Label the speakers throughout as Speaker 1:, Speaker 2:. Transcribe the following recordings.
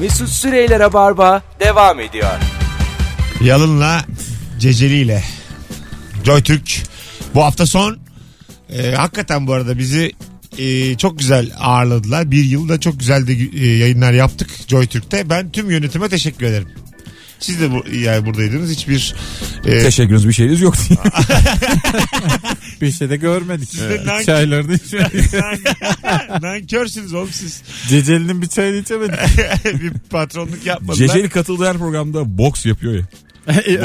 Speaker 1: Mesut Süreyler'e barba devam ediyor.
Speaker 2: Yalınla Ceceli'yle. Joy Türk. Bu hafta son. Ee, hakikaten bu arada bizi e, çok güzel ağırladılar. Bir yılda çok güzel de e, yayınlar yaptık Joy Türk'te. Ben tüm yönetime teşekkür ederim. Siz de bu, yani buradaydınız. Hiçbir e,
Speaker 3: Teşekkürünüz bir şeyiniz yok diye. bir şey de görmedik.
Speaker 2: de
Speaker 3: Evet.
Speaker 2: nank-
Speaker 3: Çaylarını içmedik.
Speaker 2: nankörsünüz oğlum siz.
Speaker 3: Cecelinin bir çayını içemedik.
Speaker 2: bir patronluk yapmadılar.
Speaker 4: Ceceli katıldığı her programda boks yapıyor ya.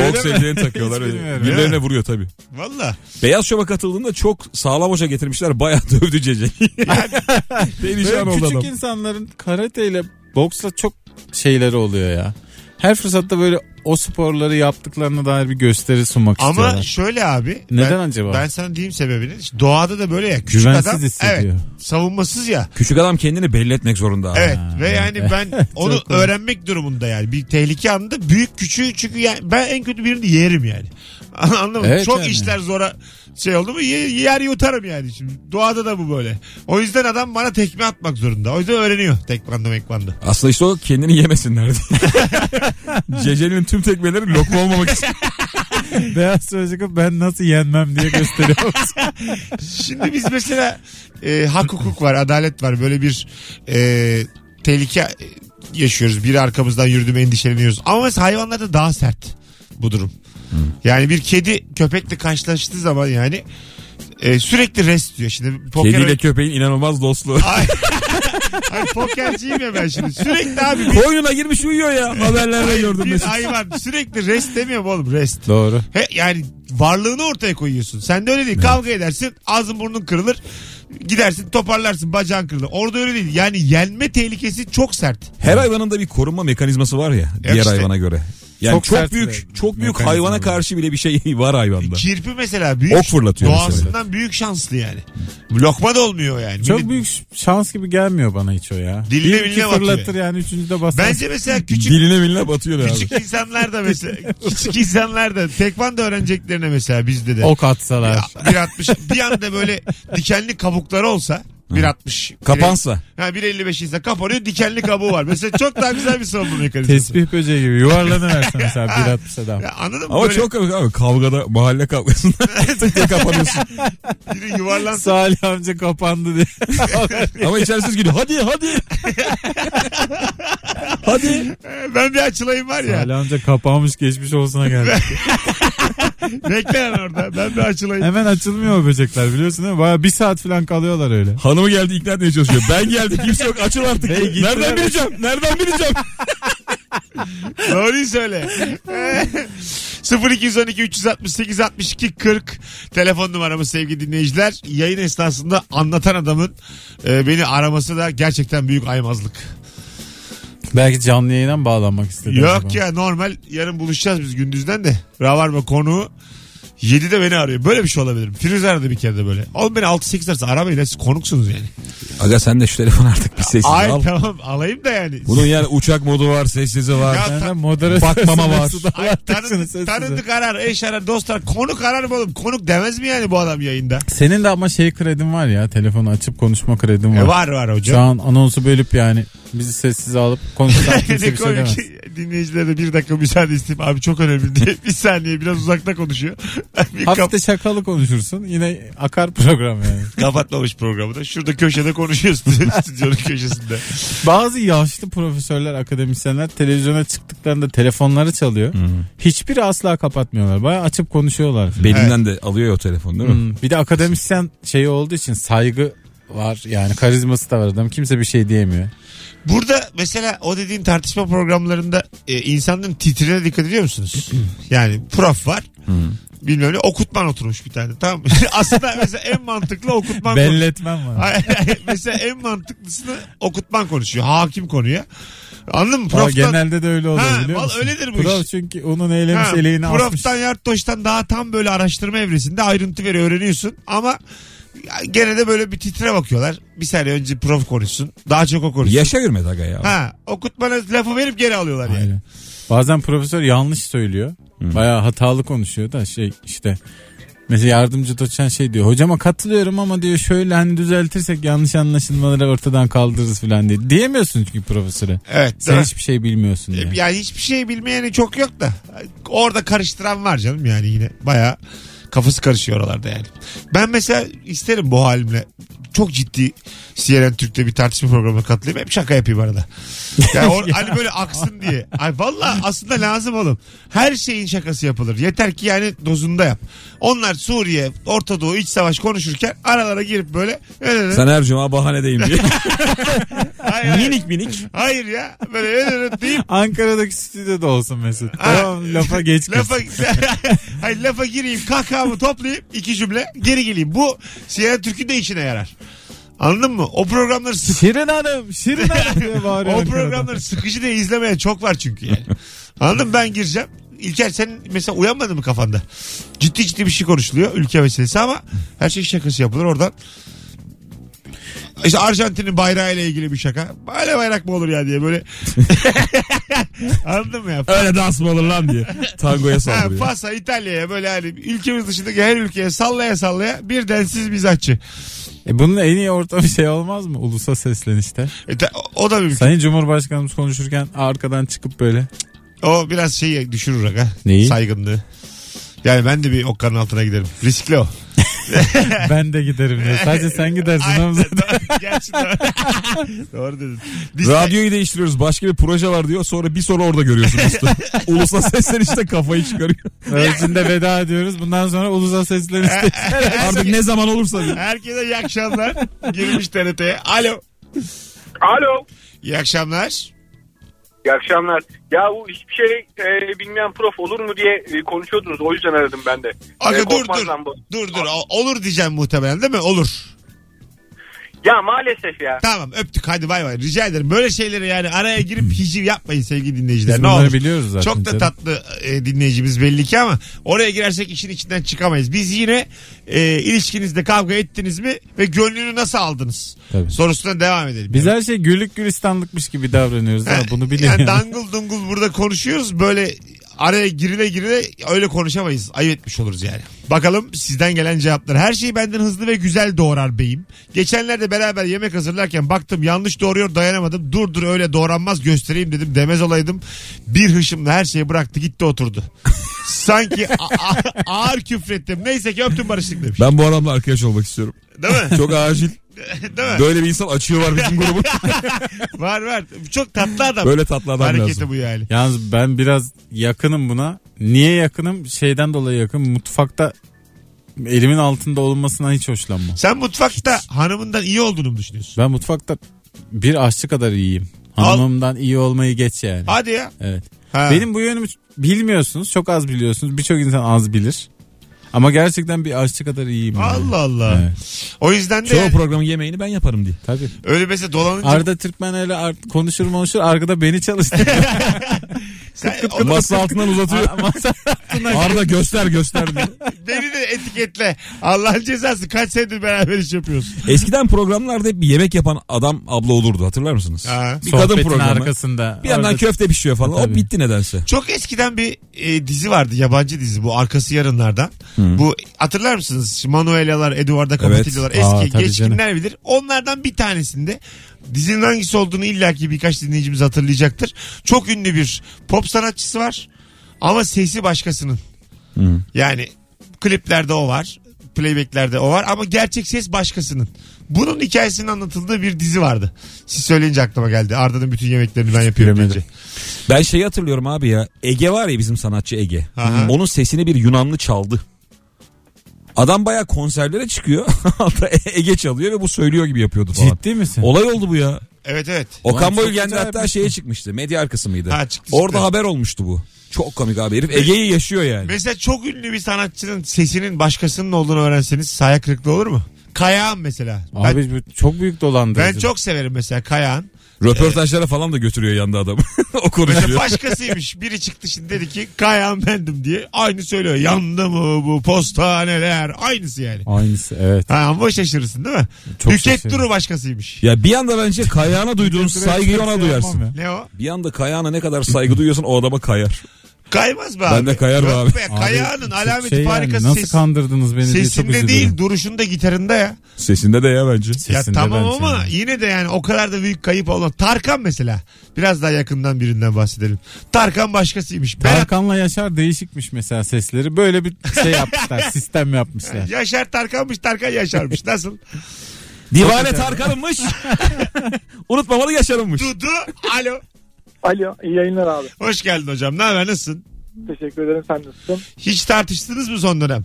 Speaker 4: Boks eldiven takıyorlar
Speaker 3: Hiç
Speaker 4: öyle.
Speaker 3: bilmiyorum.
Speaker 4: Birilerine vuruyor tabii.
Speaker 2: Valla.
Speaker 4: Beyaz Şov'a katıldığında çok sağlam hoca getirmişler. Bayağı dövdü Ceceli.
Speaker 3: Böyle
Speaker 4: Perişan oldu
Speaker 3: küçük
Speaker 4: adam.
Speaker 3: insanların karateyle boksla çok şeyleri oluyor ya. Her fırsatta böyle o sporları yaptıklarına dair bir gösteri sunmak
Speaker 2: Ama
Speaker 3: istiyorlar.
Speaker 2: şöyle abi.
Speaker 3: Neden
Speaker 2: ben-
Speaker 3: acaba?
Speaker 2: Ben sana diyeyim sebebini. Doğada da böyle ya. Küçük
Speaker 3: Güvensiz
Speaker 2: adam,
Speaker 3: hissediyor.
Speaker 2: Evet, savunmasız ya.
Speaker 4: Küçük adam kendini belli etmek zorunda. abi.
Speaker 2: Evet ve yani ben onu öğrenmek durumunda yani bir tehlike anında büyük küçüğü çünkü yani ben en kötü birini yerim yani. Anladın mı?
Speaker 3: Evet
Speaker 2: Çok
Speaker 3: yani.
Speaker 2: işler zora şey oldu mu ye- yer yutarım yani şimdi. Doğada da bu böyle. O yüzden adam bana tekme atmak zorunda. O yüzden öğreniyor tekvando mekvando.
Speaker 4: Aslında işte o kendini yemesinler diye. Ceceli'nin tüm tekmeleri lokma olmamak için.
Speaker 3: Beyaz Sözcük'ü ben nasıl yenmem diye gösteriyor.
Speaker 2: Şimdi biz mesela e, hak hukuk var, adalet var. Böyle bir e, tehlike e, yaşıyoruz. Biri arkamızdan yürüdü mü endişeleniyoruz. Ama mesela hayvanlarda daha sert bu durum. Yani bir kedi köpekle karşılaştığı zaman yani e, sürekli rest diyor. Şimdi poker
Speaker 4: Kediyle köpeğin inanılmaz dostluğu.
Speaker 2: Ay, ay pokerciyim ya ben şimdi. Sürekli abi bir,
Speaker 4: Koynuna girmiş uyuyor ya. Haberlerde gördüm
Speaker 2: bir
Speaker 4: mesela.
Speaker 2: hayvan sürekli rest demiyor mu oğlum rest.
Speaker 3: Doğru.
Speaker 2: He, yani varlığını ortaya koyuyorsun. Sen de öyle değil. Kavga edersin, ağzın burnun kırılır. Gidersin toparlarsın bacağın kırılır. Orada öyle değil. Yani yenme tehlikesi çok sert.
Speaker 4: Her hayvanın da bir korunma mekanizması var ya diğer
Speaker 2: işte.
Speaker 4: hayvana göre. Yani
Speaker 3: Çok
Speaker 4: çok,
Speaker 3: sert
Speaker 4: büyük
Speaker 3: bir
Speaker 4: çok büyük
Speaker 3: mekanizma
Speaker 4: hayvana
Speaker 3: var.
Speaker 4: karşı bile bir şey var hayvanda.
Speaker 2: Kirpi mesela büyük.
Speaker 4: Ok fırlatıyor mesela.
Speaker 2: Doğasından büyük şanslı yani. Lokma da olmuyor yani. Bir de-
Speaker 3: Çok büyük şans gibi gelmiyor bana hiç o ya.
Speaker 2: Diline
Speaker 3: bir iki
Speaker 2: miline batıyor.
Speaker 3: fırlatır yani üçüncü de basar.
Speaker 2: Bence mesela küçük
Speaker 4: Diline miline batıyor abi.
Speaker 2: küçük insanlar da mesela küçük insanlar da tekvando öğreneceklerine mesela bizde de.
Speaker 3: Ok atsalar.
Speaker 2: 1.60 bir anda böyle dikenli kabukları olsa 1.60
Speaker 4: Kapansa.
Speaker 2: Ha 1.55 ise kapanıyor dikenli kabuğu var. Mesela çok daha güzel bir savunma mekanizması.
Speaker 3: Tesbih böceği gibi yuvarlanıversen mesela bir atmış adam.
Speaker 2: Ya anladın mı?
Speaker 4: Ama
Speaker 2: Böyle
Speaker 4: çok komik abi kavgada mahalle kavgasında tık diye kapanıyorsun.
Speaker 2: biri yuvarlansın.
Speaker 3: Salih amca kapandı diye.
Speaker 4: Ama içerisiz gülüyor. Hadi hadi. hadi.
Speaker 2: Ee, ben bir açılayım var ya.
Speaker 3: Salih amca kapanmış geçmiş olsuna geldi.
Speaker 2: Bekle lan orada. Ben bir açılayım.
Speaker 3: Hemen açılmıyor o böcekler biliyorsun değil mi? Baya bir saat falan kalıyorlar öyle.
Speaker 4: Hanımı geldi ikna etmeye çalışıyor. Ben geldim kimse yok açıl artık.
Speaker 3: Bey gitti.
Speaker 4: Nereden bileceğim? Nereden bileceğim?
Speaker 2: Doğruyu söyle. Ee, 0212 368 62 40 telefon numaramız sevgili dinleyiciler. Yayın esnasında anlatan adamın e, beni araması da gerçekten büyük aymazlık.
Speaker 3: Belki canlı yayına mı bağlanmak istedi? acaba?
Speaker 2: Yok ya normal yarın buluşacağız biz gündüzden de. Ravarma konuğu 7'de beni arıyor. Böyle bir şey olabilir. mi? Firuze aradı bir kere de böyle. Oğlum beni 6-8 arası aramayın. lan, Siz konuksunuz yani.
Speaker 4: Aga sen de şu telefonu artık bir sessiz
Speaker 2: Ay
Speaker 4: E al.
Speaker 2: tamam alayım da yani.
Speaker 4: Bunun yani uçak modu var, sessizi var.
Speaker 2: Ya
Speaker 3: Nereden moderatör?
Speaker 4: Bakmama var.
Speaker 2: Ay, tanı, tanıdık arar, eş arar, dost arar. Konuk arar mı oğlum? Konuk demez mi yani bu adam yayında?
Speaker 3: Senin de ama şey kredin var ya telefonu açıp konuşma kredin var.
Speaker 2: E, var var
Speaker 3: Şu
Speaker 2: hocam.
Speaker 3: an anonsu bölüp yani bizi sessize alıp konuşsan
Speaker 2: Ne
Speaker 3: kimse bir şey
Speaker 2: koyuyor
Speaker 3: demez.
Speaker 2: ki dinleyicilere de bir dakika müsaade isteyeyim. Abi çok önemli diye. Bir saniye biraz uzakta konuşuyor. bir kap-
Speaker 3: Hafifte şakalı konuşursun yine akar program yani.
Speaker 2: kapatmamış programı da. Şurada köşede konuşuyor stü- stüdyonun köşesinde.
Speaker 3: Bazı yaşlı profesörler, akademisyenler televizyona çıktıklarında telefonları çalıyor.
Speaker 4: Hmm.
Speaker 3: Hiçbiri asla kapatmıyorlar. Bayağı açıp konuşuyorlar.
Speaker 4: Belinden de alıyor ya o telefon değil mi?
Speaker 3: Hmm, Bir de akademisyen şeyi olduğu için saygı var yani karizması da var adam kimse bir şey diyemiyor.
Speaker 2: Burada mesela o dediğin tartışma programlarında e, insanların titrine dikkat ediyor musunuz? yani prof var.
Speaker 3: Hmm.
Speaker 2: Bilmem ne okutman oturmuş bir tane tamam mı? Aslında mesela en mantıklı okutman konuş-
Speaker 3: Belletmem var.
Speaker 2: Hayır, hayır. mesela en mantıklısını okutman konuşuyor. Hakim konuya. Anladın mı?
Speaker 3: Ama
Speaker 2: Proftan,
Speaker 3: genelde de öyle oluyor
Speaker 2: Ha,
Speaker 3: biliyor
Speaker 2: val-
Speaker 3: musun?
Speaker 2: öyledir bu
Speaker 3: Prof
Speaker 2: iş.
Speaker 3: çünkü onun eylemiş
Speaker 2: Ha,
Speaker 3: eleğini asmış.
Speaker 2: proftan Yartoş'tan daha tam böyle araştırma evresinde ayrıntı veriyor öğreniyorsun ama gene de böyle bir titre bakıyorlar. Bir saniye önce prof konuşsun. Daha çok o konuşsun.
Speaker 4: Yaşa girmedi aga ya.
Speaker 2: Ha, okutmana lafı verip geri alıyorlar yani.
Speaker 3: Aynen. Bazen profesör yanlış söylüyor. Bayağı hatalı konuşuyor da şey işte Mesela yardımcı doçent şey diyor. Hocama katılıyorum ama diyor şöyle hani düzeltirsek yanlış anlaşılmaları ortadan kaldırırız falan diye. Diyemiyorsun çünkü profesöre.
Speaker 2: Evet.
Speaker 3: Sen
Speaker 2: değil mi?
Speaker 3: hiçbir şey bilmiyorsun diye.
Speaker 2: Yani hiçbir şey bilmeyeni çok yok da. Orada karıştıran var canım yani yine. Baya kafası karışıyor oralarda yani. Ben mesela isterim bu halimle. Çok ciddi CNN Türk'te bir tartışma programına katılayım. Hep şaka yapayım arada. Yani or- hani böyle aksın diye. Ay valla aslında lazım oğlum. Her şeyin şakası yapılır. Yeter ki yani dozunda yap. Onlar Suriye, Orta Doğu, iç savaş konuşurken aralara girip böyle.
Speaker 4: Sen her cuma bahanedeyim diye.
Speaker 2: hayır, hayır.
Speaker 4: minik minik.
Speaker 2: Hayır ya. Böyle deyip
Speaker 3: Ankara'daki stüdyoda olsun Mesut. tamam lafa geç kız.
Speaker 2: Lafa, hayır, lafa gireyim kahkahamı toplayayım iki cümle geri geleyim. Bu CNN Türk'ün de işine yarar. Anladın mı? O programları sık
Speaker 3: Şirin Hanım, Şirin Hanım diye bağırıyor.
Speaker 2: o
Speaker 3: Ankara'da.
Speaker 2: programları sıkıcı diye izlemeyen çok var çünkü yani. Anladın mı? Ben gireceğim. İlker sen mesela uyanmadı mı kafanda? Ciddi ciddi bir şey konuşuluyor ülke meselesi ama her şey şakası yapılır oradan. İşte Arjantin'in bayrağı ile ilgili bir şaka. Böyle bayrak mı olur ya diye böyle. Anladın mı ya?
Speaker 4: Öyle dans mı olur lan diye. Tangoya
Speaker 2: Ha,
Speaker 4: saldırıyor.
Speaker 2: Fas'a, İtalya'ya böyle hani ülkemiz dışındaki her ülkeye sallaya sallaya bir densiz mizahçı.
Speaker 3: E bunun en iyi orta bir şey olmaz mı? Ulusa seslenişte.
Speaker 2: E, ta- o da mümkün.
Speaker 3: Sayın Cumhurbaşkanımız konuşurken arkadan çıkıp böyle.
Speaker 2: O biraz şeyi düşürür aga.
Speaker 3: Neyi?
Speaker 2: Saygınlığı. Yani ben de bir okkanın altına giderim. Riskli o.
Speaker 3: Ben de giderim diye. Sadece sen gidersin
Speaker 2: Aynen,
Speaker 3: Hamza.
Speaker 2: doğru. Gerçi doğru. doğru dedin. Dis-
Speaker 4: Radyoyu değiştiriyoruz. Başka bir proje var diyor. Sonra bir soru orada görüyorsun usta. Ulusal seslenişte kafayı çıkarıyor.
Speaker 3: Ölçünde veda ediyoruz. Bundan sonra ulusa seslenişte.
Speaker 4: Artık ne zaman olursa diyor.
Speaker 2: Herkese iyi akşamlar. Girmiş TRT'ye. Alo.
Speaker 5: Alo.
Speaker 2: İyi akşamlar.
Speaker 5: İyi akşamlar. Ya bu hiçbir şey e, bilmeyen prof olur mu diye e, konuşuyordunuz. O yüzden aradım ben de.
Speaker 2: Aga
Speaker 5: E,
Speaker 2: dur dur.
Speaker 5: korkmazdan bu.
Speaker 2: Dur dur. O- Olur diyeceğim muhtemelen değil mi? Olur.
Speaker 5: Ya maalesef ya.
Speaker 2: Tamam öptük hadi bay bay. Rica ederim. Böyle şeyleri yani araya girip hiciv yapmayın sevgili dinleyiciler.
Speaker 3: Biz
Speaker 2: ne
Speaker 3: bunları
Speaker 2: olur.
Speaker 3: biliyoruz zaten
Speaker 2: Çok da
Speaker 3: canım.
Speaker 2: tatlı e, dinleyicimiz belli ki ama oraya girersek işin içinden çıkamayız. Biz yine e, ilişkinizde kavga ettiniz mi ve gönlünü nasıl aldız?
Speaker 3: Tabii.
Speaker 2: Sorusuna devam edelim.
Speaker 3: Biz her şey güllük gülistanlıkmış gibi davranıyoruz. Ha,
Speaker 2: Ha,
Speaker 3: bunu bilin
Speaker 2: yani
Speaker 3: yani.
Speaker 2: dangıl dungul burada konuşuyoruz. Böyle araya girile girile öyle konuşamayız. Ayıp etmiş oluruz yani. Bakalım sizden gelen cevaplar. Her şeyi benden hızlı ve güzel doğrar beyim. Geçenlerde beraber yemek hazırlarken baktım yanlış doğruyor dayanamadım. Dur dur öyle doğranmaz göstereyim dedim. Demez olaydım. Bir hışımla her şeyi bıraktı gitti oturdu. Sanki a- a- ağır küfrettim. Neyse ki öptüm barıştık demiş.
Speaker 4: Ben bu adamla arkadaş olmak istiyorum.
Speaker 2: Değil mi?
Speaker 4: Çok acil.
Speaker 2: Değil mi?
Speaker 4: Böyle bir insan açıyor var bizim grubu.
Speaker 2: Var var. Çok tatlı adam.
Speaker 4: Böyle tatlı adam
Speaker 2: Hareketi
Speaker 4: lazım.
Speaker 2: bu yani.
Speaker 3: Yalnız ben biraz yakınım buna. Niye yakınım? Şeyden dolayı yakın. Mutfakta elimin altında olmasından hiç hoşlanmam.
Speaker 2: Sen mutfakta hanımından iyi olduğunu mu düşünüyorsun?
Speaker 3: Ben mutfakta bir aşçı kadar iyiyim.
Speaker 2: Al.
Speaker 3: Hanımımdan iyi olmayı geç yani.
Speaker 2: Hadi ya.
Speaker 3: Evet.
Speaker 2: Ha.
Speaker 3: Benim bu yönümü bilmiyorsunuz. Çok az biliyorsunuz. Birçok insan az bilir. Ama gerçekten bir aşçı kadar iyiyim. yani.
Speaker 2: Allah Allah.
Speaker 3: Evet.
Speaker 2: O yüzden de
Speaker 4: Çoğu
Speaker 2: yani
Speaker 4: programın yemeğini ben yaparım diye.
Speaker 3: Tabii.
Speaker 2: öyle mesela dolanınca
Speaker 3: Arda Türkmen öyle ar- konuşur konuşur arkada beni çalıştırıyor.
Speaker 2: sen, o-
Speaker 4: Masa altından uzatıyor.
Speaker 3: Masa altına-
Speaker 4: Arda göster göster diyor.
Speaker 2: beni de etiketle. Allah'ın cezası kaç senedir beraber iş yapıyorsun.
Speaker 4: Eskiden programlarda hep bir yemek yapan adam abla olurdu hatırlar mısınız?
Speaker 2: Ha.
Speaker 4: Bir kadın
Speaker 3: Sohbetin
Speaker 4: programı.
Speaker 3: arkasında.
Speaker 4: Bir yandan
Speaker 3: Arda-
Speaker 4: köfte pişiyor falan. O
Speaker 3: Tabii.
Speaker 4: bitti nedense.
Speaker 2: Çok eskiden bir e, dizi vardı yabancı dizi bu arkası yarınlardan. Bu hatırlar mısınız? Manuela'lar, Eduardo Capetillo'lar
Speaker 3: Evet. Aa,
Speaker 2: eski
Speaker 3: tabii
Speaker 2: geçkinler bilir. Onlardan bir tanesinde dizinin hangisi olduğunu illaki birkaç dinleyicimiz hatırlayacaktır. Çok ünlü bir pop sanatçısı var ama sesi başkasının. Yani kliplerde o var. Playbacklerde o var ama gerçek ses başkasının. Bunun hikayesinin anlatıldığı bir dizi vardı. Siz söyleyince aklıma geldi. Arda'nın bütün yemeklerini ben yapıyorum
Speaker 3: bilemedim.
Speaker 2: deyince.
Speaker 4: Ben şeyi hatırlıyorum abi ya. Ege var ya bizim sanatçı Ege.
Speaker 2: Aha.
Speaker 4: Onun sesini bir Yunanlı çaldı. Adam bayağı konserlere çıkıyor. Altta Ege çalıyor ve bu söylüyor gibi yapıyordu falan.
Speaker 3: Ciddi misin?
Speaker 4: Olay oldu bu ya.
Speaker 2: Evet evet.
Speaker 4: Okan
Speaker 3: Ulan çok
Speaker 4: Bayülgen de
Speaker 3: acayip
Speaker 4: hatta
Speaker 3: bir
Speaker 4: şeye çıkmıştı. Medya arkası mıydı?
Speaker 2: Ha, çıktı,
Speaker 4: Orada
Speaker 2: çıktı.
Speaker 4: haber olmuştu bu. Çok komik abi herif. Ege'yi yaşıyor yani.
Speaker 2: Mesela çok ünlü bir sanatçının sesinin başkasının olduğunu öğrenseniz saya kırıklığı olur mu? Kayağan mesela. ben,
Speaker 3: Abi bu çok büyük dolandırıcı.
Speaker 2: ben çok severim mesela Kayağan.
Speaker 4: Röportajlara falan da götürüyor yanında adam. o
Speaker 2: Mesela
Speaker 4: konuşuyor.
Speaker 2: başkasıymış. Biri çıktı şimdi dedi ki Kayağan bendim diye. Aynı söylüyor. Yandı mı bu postaneler? Aynısı yani.
Speaker 3: Aynısı evet.
Speaker 2: Ha, ama şaşırırsın değil mi?
Speaker 3: Çok
Speaker 2: Nükhet
Speaker 3: şaşırırım.
Speaker 2: Duru başkasıymış.
Speaker 4: ya bir anda bence Kayağan'a duyduğun saygıyı ona
Speaker 3: Yapamam
Speaker 4: duyarsın.
Speaker 3: ya.
Speaker 2: Ne o?
Speaker 4: Bir anda Kayağan'a ne kadar saygı duyuyorsan o adama kayar.
Speaker 2: Kaymaz mı abi?
Speaker 4: Ben de kayar mı
Speaker 2: Yok
Speaker 4: abi?
Speaker 2: Be,
Speaker 3: Abi,
Speaker 2: kayağının
Speaker 3: çok
Speaker 2: alameti
Speaker 3: şey yani,
Speaker 2: farikası
Speaker 3: Nasıl
Speaker 2: ses-
Speaker 3: kandırdınız beni diye çok
Speaker 2: sesinde
Speaker 3: üzüldüm.
Speaker 2: değil duruşunda gitarında ya.
Speaker 4: Sesinde de ya bence.
Speaker 2: Ya
Speaker 3: Sesinde
Speaker 2: tamam
Speaker 3: bence
Speaker 2: ama
Speaker 3: yani.
Speaker 2: yine de yani o kadar da büyük kayıp olan. Tarkan mesela. Biraz daha yakından birinden bahsedelim. Tarkan başkasıymış. Berat,
Speaker 3: Tarkan'la Yaşar değişikmiş mesela sesleri. Böyle bir şey yapmışlar. sistem yapmışlar.
Speaker 2: Yaşar Tarkan'mış Tarkan Yaşar'mış. Nasıl?
Speaker 4: Divane Tarkan'ınmış. Unutmamalı yaşarınmış.
Speaker 2: Dudu alo.
Speaker 6: Alo iyi yayınlar abi.
Speaker 2: Hoş geldin hocam. Ne haber nasılsın?
Speaker 6: Teşekkür ederim sen nasılsın?
Speaker 2: Hiç tartıştınız mı son dönem?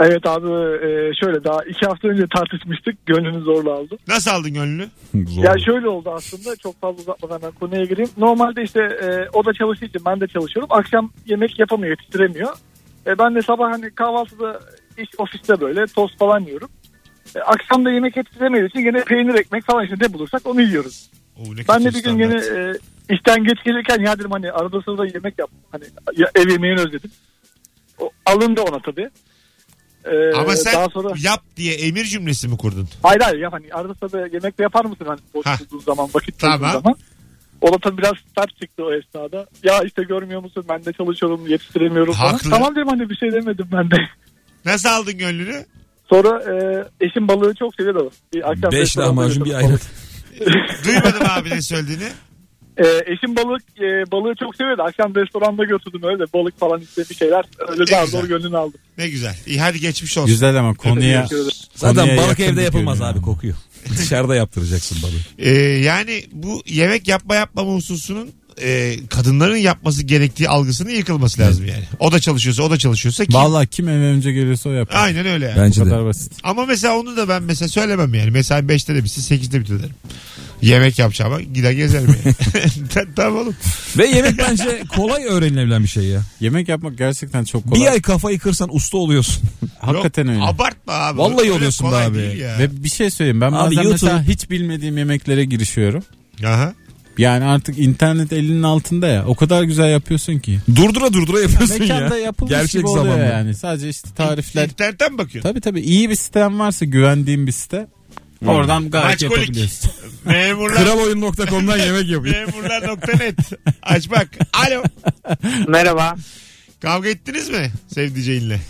Speaker 6: Evet abi e, şöyle daha iki hafta önce tartışmıştık. Gönlünü zorla aldım.
Speaker 2: Nasıl aldın gönlünü?
Speaker 4: Zor.
Speaker 6: Ya şöyle oldu aslında çok fazla uzatmadan ben konuya gireyim. Normalde işte e, o da çalıştığı için ben de çalışıyorum. Akşam yemek yapamıyor yetiştiremiyor. E, ben de sabah hani kahvaltıda iş ofiste böyle tost falan yiyorum. E, akşam da yemek yetiştiremediği için yine peynir ekmek falan işte ne bulursak onu yiyoruz.
Speaker 2: Oo, ne
Speaker 6: Ben de
Speaker 2: kötü
Speaker 6: bir gün yine
Speaker 2: standart.
Speaker 6: e, işten geç gelirken ya dedim hani arada sırada yemek yap. Hani ya, ev yemeğini özledim. O, alındı ona tabii. E,
Speaker 2: Ama sen
Speaker 6: daha sonra
Speaker 2: yap diye emir cümlesi mi kurdun?
Speaker 6: hayır hayır ya hani arada sırada yemek de yapar mısın hani boş
Speaker 2: Hah.
Speaker 6: bulduğun zaman vakit
Speaker 2: Tamam.
Speaker 6: bulduğun zaman. O da tabii biraz sert çıktı o esnada. Ya işte görmüyor musun ben de çalışıyorum yetiştiremiyorum falan.
Speaker 2: Haklı.
Speaker 6: Tamam dedim hani bir şey demedim ben de.
Speaker 2: Nasıl aldın gönlünü?
Speaker 6: Sonra e, eşim balığı çok seviyor da. Bir akşam
Speaker 4: Beş
Speaker 6: restoranda
Speaker 4: lahmacun
Speaker 6: yedim.
Speaker 4: bir ayran.
Speaker 2: Duymadım abi ne söylediğini.
Speaker 6: E, eşim balık e, balığı çok seviyordu. Akşam restoranda götürdüm öyle de balık falan işte bir şeyler. Öyle daha
Speaker 2: güzel.
Speaker 6: zor gönlünü aldım.
Speaker 2: Ne güzel. İyi hadi geçmiş olsun.
Speaker 3: Güzel ama konuya...
Speaker 6: Teşekkür ederim.
Speaker 4: Zaten
Speaker 3: konuya
Speaker 4: balık
Speaker 3: yakın
Speaker 4: evde
Speaker 3: bir
Speaker 4: yapılmaz
Speaker 3: görünüm.
Speaker 4: abi kokuyor. Dışarıda yaptıracaksın balığı.
Speaker 2: Ee, yani bu yemek yapma yapmama hususunun e, kadınların yapması gerektiği algısının yıkılması lazım yani. O da çalışıyorsa o da çalışıyorsa ki
Speaker 3: Vallahi kim eve önce gelirse o yapar.
Speaker 2: aynen öyle yani.
Speaker 3: Bu
Speaker 4: Bence de.
Speaker 3: kadar basit.
Speaker 2: Ama mesela onu da ben mesela söylemem yani. Mesela 5'te de bitsin 8'de bitiyor derim. Yemek yapacağıma gider gezerim yani. Ta- tamam oğlum.
Speaker 4: Ve yemek bence kolay öğrenilebilen bir şey ya.
Speaker 3: Yemek yapmak gerçekten çok kolay.
Speaker 4: Bir ay kafayı kırsan usta oluyorsun.
Speaker 3: Hakikaten
Speaker 2: Yok,
Speaker 3: öyle.
Speaker 2: Abartma abi.
Speaker 4: Vallahi
Speaker 2: Öyle
Speaker 4: oluyorsun be
Speaker 2: kolay
Speaker 4: abi.
Speaker 2: değil ya.
Speaker 3: Ve bir şey söyleyeyim. Ben
Speaker 4: Abi
Speaker 3: bazen
Speaker 4: YouTube-
Speaker 3: mesela hiç bilmediğim yemeklere girişiyorum.
Speaker 2: Aha.
Speaker 3: Yani artık internet elinin altında ya. O kadar güzel yapıyorsun ki.
Speaker 4: Durdura durdura yapıyorsun
Speaker 3: Mekanda
Speaker 4: ya.
Speaker 3: yapılmış
Speaker 4: Gerçek
Speaker 3: gibi oluyor
Speaker 4: zamanda.
Speaker 3: yani. Sadece işte tarifler.
Speaker 2: İnternetten mi bakıyorsun?
Speaker 3: Tabii tabii iyi bir sistem varsa güvendiğim bir site.
Speaker 4: Hmm.
Speaker 3: Oradan gayet
Speaker 2: Maçkolik.
Speaker 3: yapabiliyorsun.
Speaker 2: Memurlar.
Speaker 4: Kraloyun.com'dan yemek yapıyor.
Speaker 2: Memurlar.net. Aç bak. Alo.
Speaker 7: Merhaba.
Speaker 2: Kavga ettiniz mi sevdiceğinle?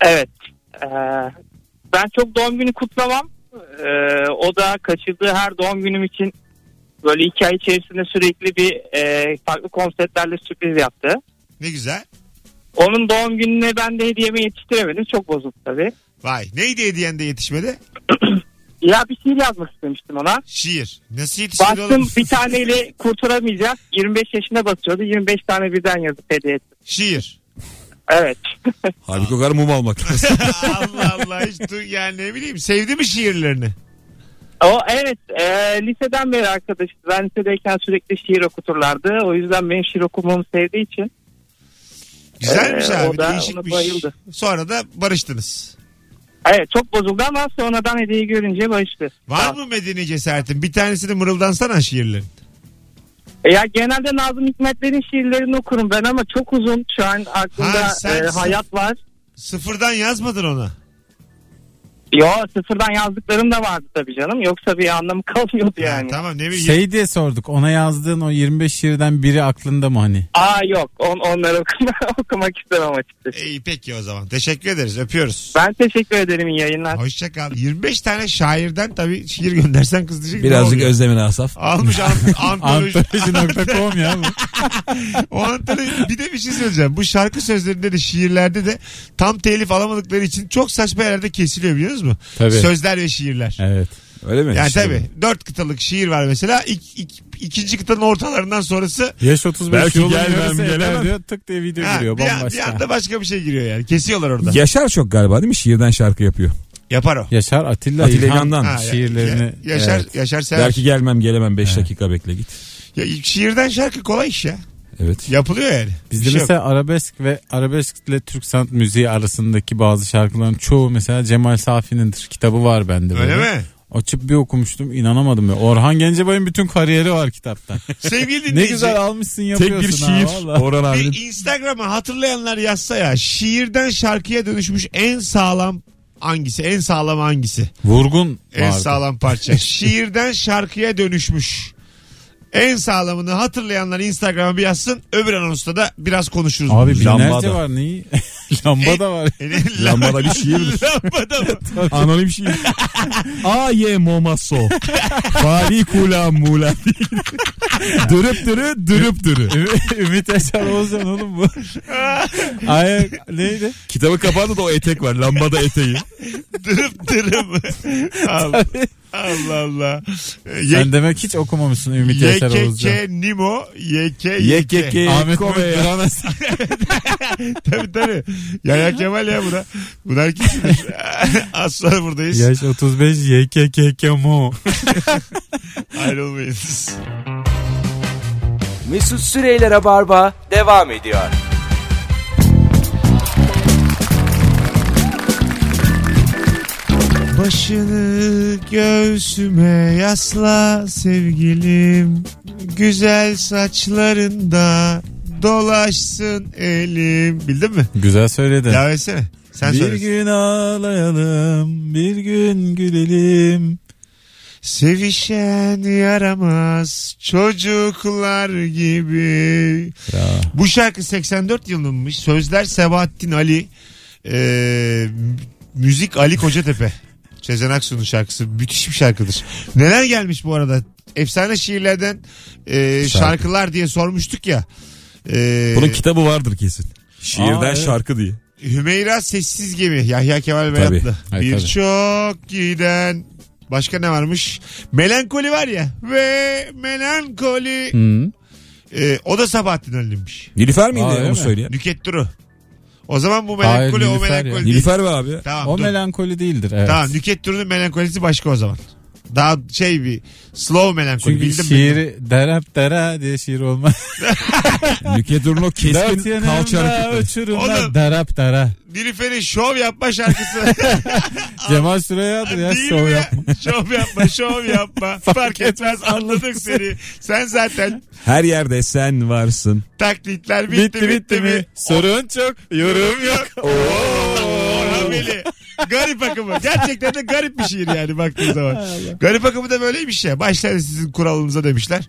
Speaker 7: Evet. Ee, ben çok doğum günü kutlamam. Ee, o da kaçırdığı her doğum günüm için böyle iki ay içerisinde sürekli bir e, farklı konseptlerle sürpriz yaptı.
Speaker 2: Ne güzel.
Speaker 7: Onun doğum gününe ben de hediyemi yetiştiremedim. Çok bozuldu tabii.
Speaker 2: Vay. Neydi hediyen de yetişmedi?
Speaker 7: Ya bir şiir yazmak istemiştim ona.
Speaker 2: Şiir. Nasıl yetişmedi
Speaker 7: Baktım
Speaker 2: oğlum?
Speaker 7: bir taneyle kurtulamayacak. 25 yaşına basıyordu. 25 tane birden yazıp hediye ettim.
Speaker 2: Şiir.
Speaker 7: Evet.
Speaker 4: Halbuki o kadar mum almak lazım.
Speaker 2: Allah Allah. Hiç du- yani ne bileyim. Sevdi mi şiirlerini?
Speaker 7: O evet e, liseden beri arkadaşız. Ben lisedeyken sürekli şiir okuturlardı. O yüzden benim şiir okumamı sevdiği için
Speaker 2: Güzelmiş
Speaker 7: Ee,
Speaker 2: abi.
Speaker 7: o da ona
Speaker 2: değişikmiş.
Speaker 7: bayıldı.
Speaker 2: Sonra da barıştınız.
Speaker 7: Evet çok bozuldu ama sonradan hediyeyi görünce barıştı.
Speaker 2: Var
Speaker 7: Tamam.
Speaker 2: mı medeni cesaretin? Bir tanesini mırıldansana şiirlerin.
Speaker 7: E ya genelde Nazım Hikmetler'in şiirlerini okurum ben ama çok uzun. Şu an aklımda
Speaker 2: Ha, sen-
Speaker 7: e, hayat var.
Speaker 2: Sıfırdan yazmadın ona.
Speaker 7: Yo sıfırdan yazdıklarım da vardı tabii canım. Yoksa bir anlamı kalmıyordu
Speaker 2: Ha,
Speaker 7: yani.
Speaker 2: tamam ne bileyim.
Speaker 3: Şey diye sorduk. Ona yazdığın o 25 şiirden biri aklında mı hani?
Speaker 7: Aa yok on, onları okuma, okumak istemem açıkçası.
Speaker 2: İyi peki o zaman. Teşekkür ederiz. Öpüyoruz.
Speaker 7: Ben teşekkür ederim iyi yayınlar.
Speaker 2: Hoşça kal. 25 tane şairden tabii şiir göndersen kız diyecek. ne
Speaker 4: Birazcık
Speaker 2: oluyor?
Speaker 4: özlemin asaf.
Speaker 2: Almış an, antoloji.
Speaker 3: Antoloji.com ya bu.
Speaker 2: o antoloji. Bir de bir şey söyleyeceğim. Bu şarkı sözlerinde de şiirlerde de tam telif alamadıkları için çok saçma yerlerde kesiliyor biliyor musunuz?
Speaker 3: Tabii.
Speaker 2: Sözler ve şiirler.
Speaker 3: Evet.
Speaker 4: Öyle mi? Şey
Speaker 2: Yani
Speaker 4: İşte bu.
Speaker 2: tabii. Dört kıtalık şiir var mesela. İk, ik- ikinci kıtanın ortalarından sonrası
Speaker 3: Yaş 35
Speaker 4: Belki
Speaker 3: yolun
Speaker 4: gelmem,
Speaker 3: yarısı yeter
Speaker 4: gelemem.
Speaker 3: diyor. Tık diye video
Speaker 2: ha,
Speaker 3: giriyor.
Speaker 2: bir, an- bir
Speaker 3: Bambaşka.
Speaker 2: anda başka bir şey giriyor yani. Kesiyorlar orada.
Speaker 4: Yaşar çok galiba değil mi? Şiirden şarkı yapıyor.
Speaker 2: Yapar o.
Speaker 3: Yaşar Atilla,
Speaker 4: Atilla
Speaker 3: İlhan
Speaker 4: İlhan'dan.
Speaker 2: Ha, ya-
Speaker 3: şiirlerini.
Speaker 2: ya- Yaşar,
Speaker 3: Evet.
Speaker 2: Yaşar sever.
Speaker 4: Belki gelmem gelemem 5 dakika bekle git.
Speaker 2: Ya, şiirden şarkı kolay iş ya.
Speaker 4: Evet.
Speaker 2: Yapılıyor yani. Bir
Speaker 3: Bizde
Speaker 2: şey yok.
Speaker 3: mesela arabesk ve arabeskle Türk sanat müziği arasındaki bazı şarkıların çoğu mesela Cemal Safi'nindir. Kitabı var bende böyle.
Speaker 2: Öyle mi?
Speaker 3: Açıp bir okumuştum inanamadım. Ya. Orhan Gencebay'ın bütün kariyeri var kitapta.
Speaker 2: Sevgili dinleyici.
Speaker 3: ne güzel almışsın yapıyorsun ha, vallahi.
Speaker 4: Orhan abinin.
Speaker 2: Bir Instagram'a hatırlayanlar yazsa ya şiirden şarkıya dönüşmüş en sağlam hangisi? En sağlam hangisi?
Speaker 3: Vurgun
Speaker 2: En
Speaker 3: vardı.
Speaker 2: sağlam parça. şiirden şarkıya dönüşmüş. En sağlamını hatırlayanlar Instagram'a bir yazsın. Öbür anonsta da biraz konuşuruz.
Speaker 3: Abi binlerce
Speaker 4: Lambada.
Speaker 3: var neyi? Lambada var.
Speaker 4: E, Lambada bir şiir.
Speaker 2: Lambada mı?
Speaker 4: Anonim şiir. A ye e. momaso. Fari kula mula. dürüp dürü dürüp dürü.
Speaker 3: Ümit Eser Oğuzhan oğlum bu. Ay neydi?
Speaker 4: Kitabı kapağında da o etek var. Lambada eteği.
Speaker 2: Dırıp dırım. Allah Allah. Allah.
Speaker 3: Sen demek hiç okumamışsın Ümit Eser Oğuzcan.
Speaker 2: YKK Nimo YKK.
Speaker 4: YKK.
Speaker 3: Ahmet
Speaker 4: Kobe ya.
Speaker 3: Kıranas.
Speaker 2: tabii tabii. Yaya Kemal ya buna. Bunlar kimdir? Az sonra buradayız.
Speaker 3: Yaş 35 YKKK Mo.
Speaker 2: Ayrılmayınız.
Speaker 1: Mesut Süreyler'e barba devam ediyor.
Speaker 2: Başını göğsüme yasla sevgilim. Güzel saçlarında dolaşsın elim. Bildin mi?
Speaker 3: Güzel söyledin.
Speaker 2: Ya versene. Sen
Speaker 3: bir
Speaker 2: söyle.
Speaker 3: gün ağlayalım, bir gün gülelim.
Speaker 2: Sevişen yaramaz çocuklar gibi. Bu şarkı 84 yılınmış. Sözler Sebahattin Ali. Ee, müzik Ali Kocatepe. Sezen Aksu'nun şarkısı. Müthiş bir şarkıdır. Neler gelmiş bu arada? Efsane şiirlerden e, şarkılar diye sormuştuk ya. Ee,
Speaker 4: Bunun kitabı vardır kesin. Şiirden
Speaker 3: Aa, evet.
Speaker 4: şarkı diye.
Speaker 2: Hümeyra Sessiz Gemi. Yahya Kemal
Speaker 4: Tabii.
Speaker 2: Beyatlı.
Speaker 3: Ay, tabii.
Speaker 2: Birçok giden Başka ne varmış? Melankoli var ya. Ve melankoli.
Speaker 3: Hı.
Speaker 2: Ee, o da Sabahattin Ali'ymiş.
Speaker 4: Nilüfer miydi
Speaker 3: Aa, öyle
Speaker 4: onu
Speaker 3: mi?
Speaker 4: söyleyen?
Speaker 2: Nüket Duru. O zaman bu
Speaker 3: Hayır,
Speaker 2: melankoli o
Speaker 3: Nilüfer ya.
Speaker 2: melankoli değil.
Speaker 4: Nilüfer be abi.
Speaker 2: Tamam,
Speaker 3: O
Speaker 2: dur.
Speaker 3: melankoli değildir. Evet.
Speaker 2: Tamam Nüket Duru'nun melankolisi başka o zaman. Daha şey bir slow melankoli.
Speaker 3: Çünkü
Speaker 2: bildim bildim.
Speaker 3: şiiri derap dera diye şiir olmaz.
Speaker 4: Nüket Ürün o
Speaker 3: Dört
Speaker 4: keskin kalça
Speaker 3: yanımda
Speaker 4: hareketleri.
Speaker 2: Oğlum.
Speaker 3: uçurumda derap dera.
Speaker 2: Nilüfer'in şov yapma şarkısı.
Speaker 3: Cemal Süreyya'dır ya
Speaker 2: Değil
Speaker 3: şov
Speaker 2: mi ya?
Speaker 3: yapma.
Speaker 2: Şov yapma, şov yapma. Fark etmez anladık seni. Sen zaten
Speaker 4: Her yerde sen varsın.
Speaker 2: taklitler bitti
Speaker 3: Bitti bitti mi? Sorun çok yorum yok.
Speaker 2: Orhan Veli. Garip akımı. Gerçekten de garip bir şiir yani baktığın zaman. Garip akımı da böyleymiş ya. Başlar sizin kuralınıza demişler.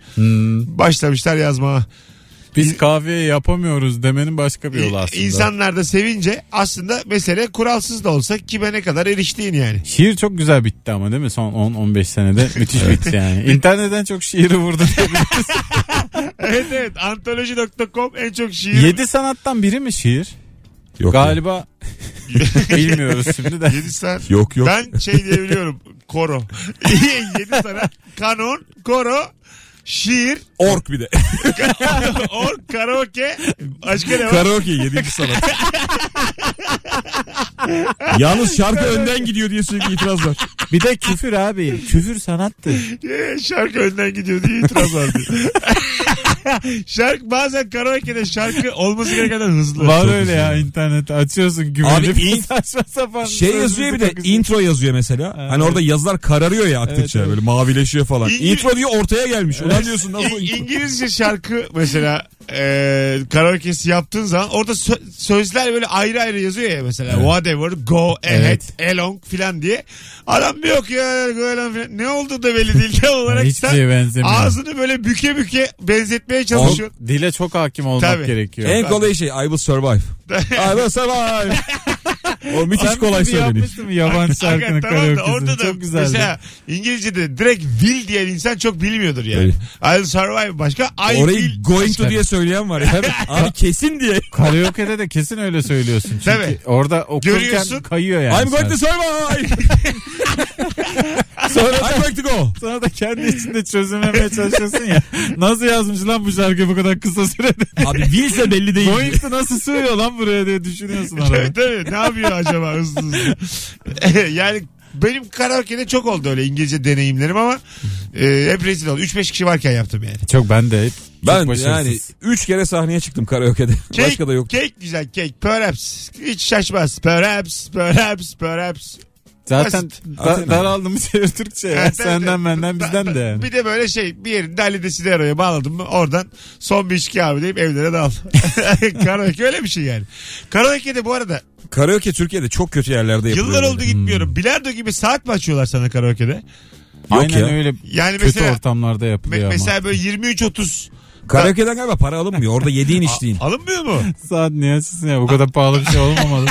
Speaker 2: Başlamışlar yazmaya.
Speaker 3: Biz kahveyi yapamıyoruz demenin başka bir yolu aslında.
Speaker 2: İnsanlar da sevince aslında mesele kuralsız da olsa kime ne kadar eriştiğin yani.
Speaker 3: Şiir çok güzel bitti ama değil mi? Son 10-15 senede müthiş bitti yani. İnternetten çok şiiri vurdu.
Speaker 2: evet evet. Antoloji.com en çok şiir.
Speaker 3: 7 sanattan biri mi şiir?
Speaker 4: Yok Galiba.
Speaker 3: Galiba bilmiyoruz şimdi de.
Speaker 2: 7 saat.
Speaker 4: Yok yok.
Speaker 2: Ben şey diyebiliyorum. Koro. 7 sana. Kanon, koro, şiir,
Speaker 4: Ork bir de.
Speaker 2: or, karaoke. Başka ne var?
Speaker 4: Karaoke 7. sanat. Yalnız şarkı önden gidiyor diye sürekli itiraz var.
Speaker 3: Bir de küfür abi. Küfür sanattır.
Speaker 2: Ee, şarkı önden gidiyor diye itiraz var diyor. şarkı bazen karaoke'de şarkı olması gerekenden hızlı.
Speaker 3: Var
Speaker 2: Çok
Speaker 3: öyle
Speaker 2: hızlı.
Speaker 3: ya internette açıyorsun
Speaker 4: Abi
Speaker 3: güvenli bir
Speaker 4: in-
Speaker 3: saçma sapan.
Speaker 4: Şey yazıyor bir de
Speaker 3: Çok güzel.
Speaker 4: intro yazıyor mesela. Hani orada yazılar kararıyor ya aktıkça
Speaker 3: Evet, evet.
Speaker 4: böyle mavileşiyor falan.
Speaker 2: İngiliz-
Speaker 4: Intro diyor ortaya gelmiş. Ulan diyorsun nasıl
Speaker 2: İ-
Speaker 4: intro?
Speaker 2: İngilizce şarkı mesela e, karaoke'si yaptığın zaman orada sö- sözler böyle ayrı ayrı yazıyor ya mesela whatever, go, ahead, along filan diye. Adam bir okuyor go along filan. Ne oldu da belli değil tam olarak
Speaker 3: Hiç
Speaker 2: sen
Speaker 3: şeye benzemiyor.
Speaker 2: ağzını böyle büke büke benzetmeye çalışıyorsun.
Speaker 3: Dile çok hakim olmak
Speaker 2: Tabii.
Speaker 3: gerekiyor.
Speaker 4: En kolay şey I will survive. I will survive. o müthiş
Speaker 3: Sen
Speaker 4: kolay
Speaker 3: bizi
Speaker 4: söyleniyor.
Speaker 3: yapmıştın mı yabancı şarkının
Speaker 2: Hakikaten tamam da orada
Speaker 3: karaoke'sini?
Speaker 2: da
Speaker 3: Çok güzeldi.
Speaker 2: mesela İngilizce'de direkt will diyen insan çok bilmiyordur yani. I'll survive başka. I will
Speaker 4: Orayı going to diye söyleyen var. ya. Abi kesin diye.
Speaker 3: Karaoke'de de kesin öyle söylüyorsun. Çünkü
Speaker 2: Tabii.
Speaker 3: orada okurken
Speaker 2: Görüyorsun.
Speaker 3: kayıyor yani.
Speaker 4: I'm going to
Speaker 3: şarkı.
Speaker 4: survive.
Speaker 3: Sonra da,
Speaker 4: I'm going to go.
Speaker 3: sonra da kendi içinde çözümlemeye çalışıyorsun ya. Nasıl yazmış lan bu şarkıyı bu kadar kısa sürede?
Speaker 4: Abi Wilse belli değil.
Speaker 3: Boeing de nasıl sığıyor lan buraya diye düşünüyorsun
Speaker 2: Tabii
Speaker 3: arada.
Speaker 2: tabii. Ne yapıyor acaba hızlı hızlı? yani benim karaoke'de çok oldu öyle İngilizce deneyimlerim ama e, hep rezil oldu. 3-5 kişi varken yaptım yani.
Speaker 3: Çok ben de hep çok
Speaker 4: Ben
Speaker 3: başarısız.
Speaker 4: yani 3 kere sahneye çıktım karaoke'de.
Speaker 3: Şey-
Speaker 2: Cake,
Speaker 4: Başka da yok.
Speaker 2: Cake Şey, güzel cake. Perhaps. Hiç şaşmaz. Perhaps. Perhaps. Perhaps.
Speaker 3: Zaten
Speaker 2: basit.
Speaker 3: da, daraldım çevir Türkçe. ya.
Speaker 2: Evet, evet,
Speaker 3: şey Senden
Speaker 2: evet.
Speaker 3: benden
Speaker 2: Da-
Speaker 3: bizden
Speaker 2: da-
Speaker 3: de yani.
Speaker 2: Bir de böyle şey bir yerinde Ali Desidero'ya bağladım mı oradan son bir içki abi deyip evlere dal. Karaoke öyle bir şey yani. Karaoke'de bu arada
Speaker 4: Karaoke Türkiye'de çok kötü yerlerde yapılıyor.
Speaker 2: yıllar oldu
Speaker 3: Hmm.
Speaker 4: böyle.
Speaker 2: gitmiyorum. Bilardo gibi saat mi açıyorlar sana karaoke'de?
Speaker 4: Yok
Speaker 3: Aynen
Speaker 4: ya.
Speaker 3: öyle
Speaker 2: Yani
Speaker 3: kötü
Speaker 2: mesela-
Speaker 3: ortamlarda yapılıyor
Speaker 2: Me-
Speaker 3: ama.
Speaker 2: mesela böyle 23-30
Speaker 4: Karaoke'den galiba para alınmıyor. Orada yediğin içtiğin.
Speaker 2: alınmıyor mu?
Speaker 3: Saat niye açılsın ya bu kadar pahalı bir şey olmamalı.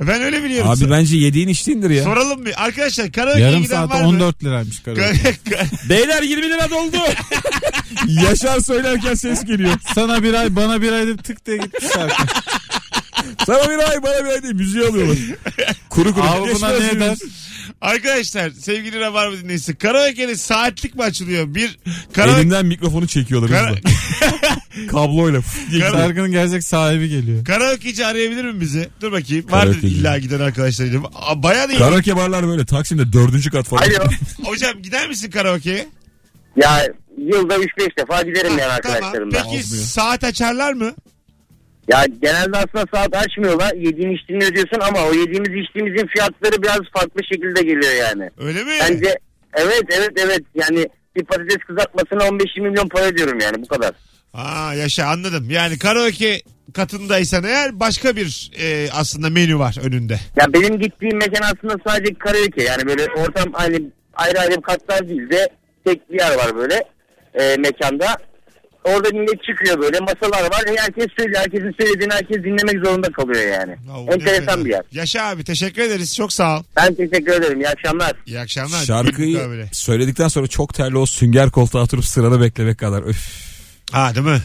Speaker 2: Ben öyle biliyorum.
Speaker 4: Abi bence yediğin içtiğindir ya.
Speaker 2: Soralım bir. Arkadaşlar karaoke'ye
Speaker 3: Yarım
Speaker 2: giden
Speaker 3: saat
Speaker 2: var mı?
Speaker 3: 14 liraymış karaoke.
Speaker 4: Beyler 20 lira doldu. Yaşar söylerken ses geliyor.
Speaker 3: Sana bir ay bana bir ay deyip tık diye gitmiş şarkı.
Speaker 4: Sana bir ay bana bir ay diye müziği alıyorlar. Kuru kuru.
Speaker 3: Abi buna ne eder?
Speaker 2: Arkadaşlar sevgili Rabarba dinleyicisi karaoke'nin saatlik mi açılıyor? Bir karaoke,
Speaker 4: Elimden mikrofonu çekiyorlar
Speaker 2: Kara-
Speaker 4: hızla. Kabloyla.
Speaker 2: kara-
Speaker 3: Şarkının gerçek sahibi geliyor.
Speaker 2: karaokeci arayabilir mi bizi? Dur bakayım. Vardır
Speaker 4: Karaokeci.
Speaker 2: illa giden arkadaşlarıyla. Aa, Bayağı değil.
Speaker 4: Karaoke barlar böyle Taksim'de dördüncü kat falan.
Speaker 8: Alo.
Speaker 2: Hocam gider misin karaoke'ye?
Speaker 8: Ya yılda 3-5 defa giderim yani
Speaker 2: Tamam.
Speaker 8: arkadaşlarımla.
Speaker 2: Peki saat açarlar mı?
Speaker 8: Ya genelde aslında saat açmıyorlar. Yediğin içtiğini ödüyorsun ama o yediğimiz içtiğimizin fiyatları biraz farklı şekilde geliyor yani.
Speaker 2: Öyle mi?
Speaker 8: Bence evet evet evet yani bir patates kızartmasına 15-20 milyon para ödüyorum yani bu kadar.
Speaker 2: Aa yaşa anladım. Yani karaoke katındaysan eğer başka bir e, aslında menü var önünde.
Speaker 8: Ya benim gittiğim mekan aslında sadece karaoke yani böyle ortam aynı ayrı ayrı katlar değil de tek bir yer var böyle e, mekanda. Orada millet çıkıyor böyle masalar var. E, herkes söylüyor. Herkesin söylediğini herkes dinlemek zorunda kalıyor yani.
Speaker 2: Yahu ne fena.
Speaker 8: Enteresan bir yer.
Speaker 2: Yaşa abi teşekkür ederiz. Çok sağ ol.
Speaker 8: Ben teşekkür ederim. İyi akşamlar.
Speaker 2: İyi akşamlar. Büyük
Speaker 4: Şarkıyı
Speaker 2: mukabele.
Speaker 4: söyledikten sonra çok terli o sünger koltuğa oturup sırada beklemek kadar. Öf.
Speaker 2: Ha değil mi?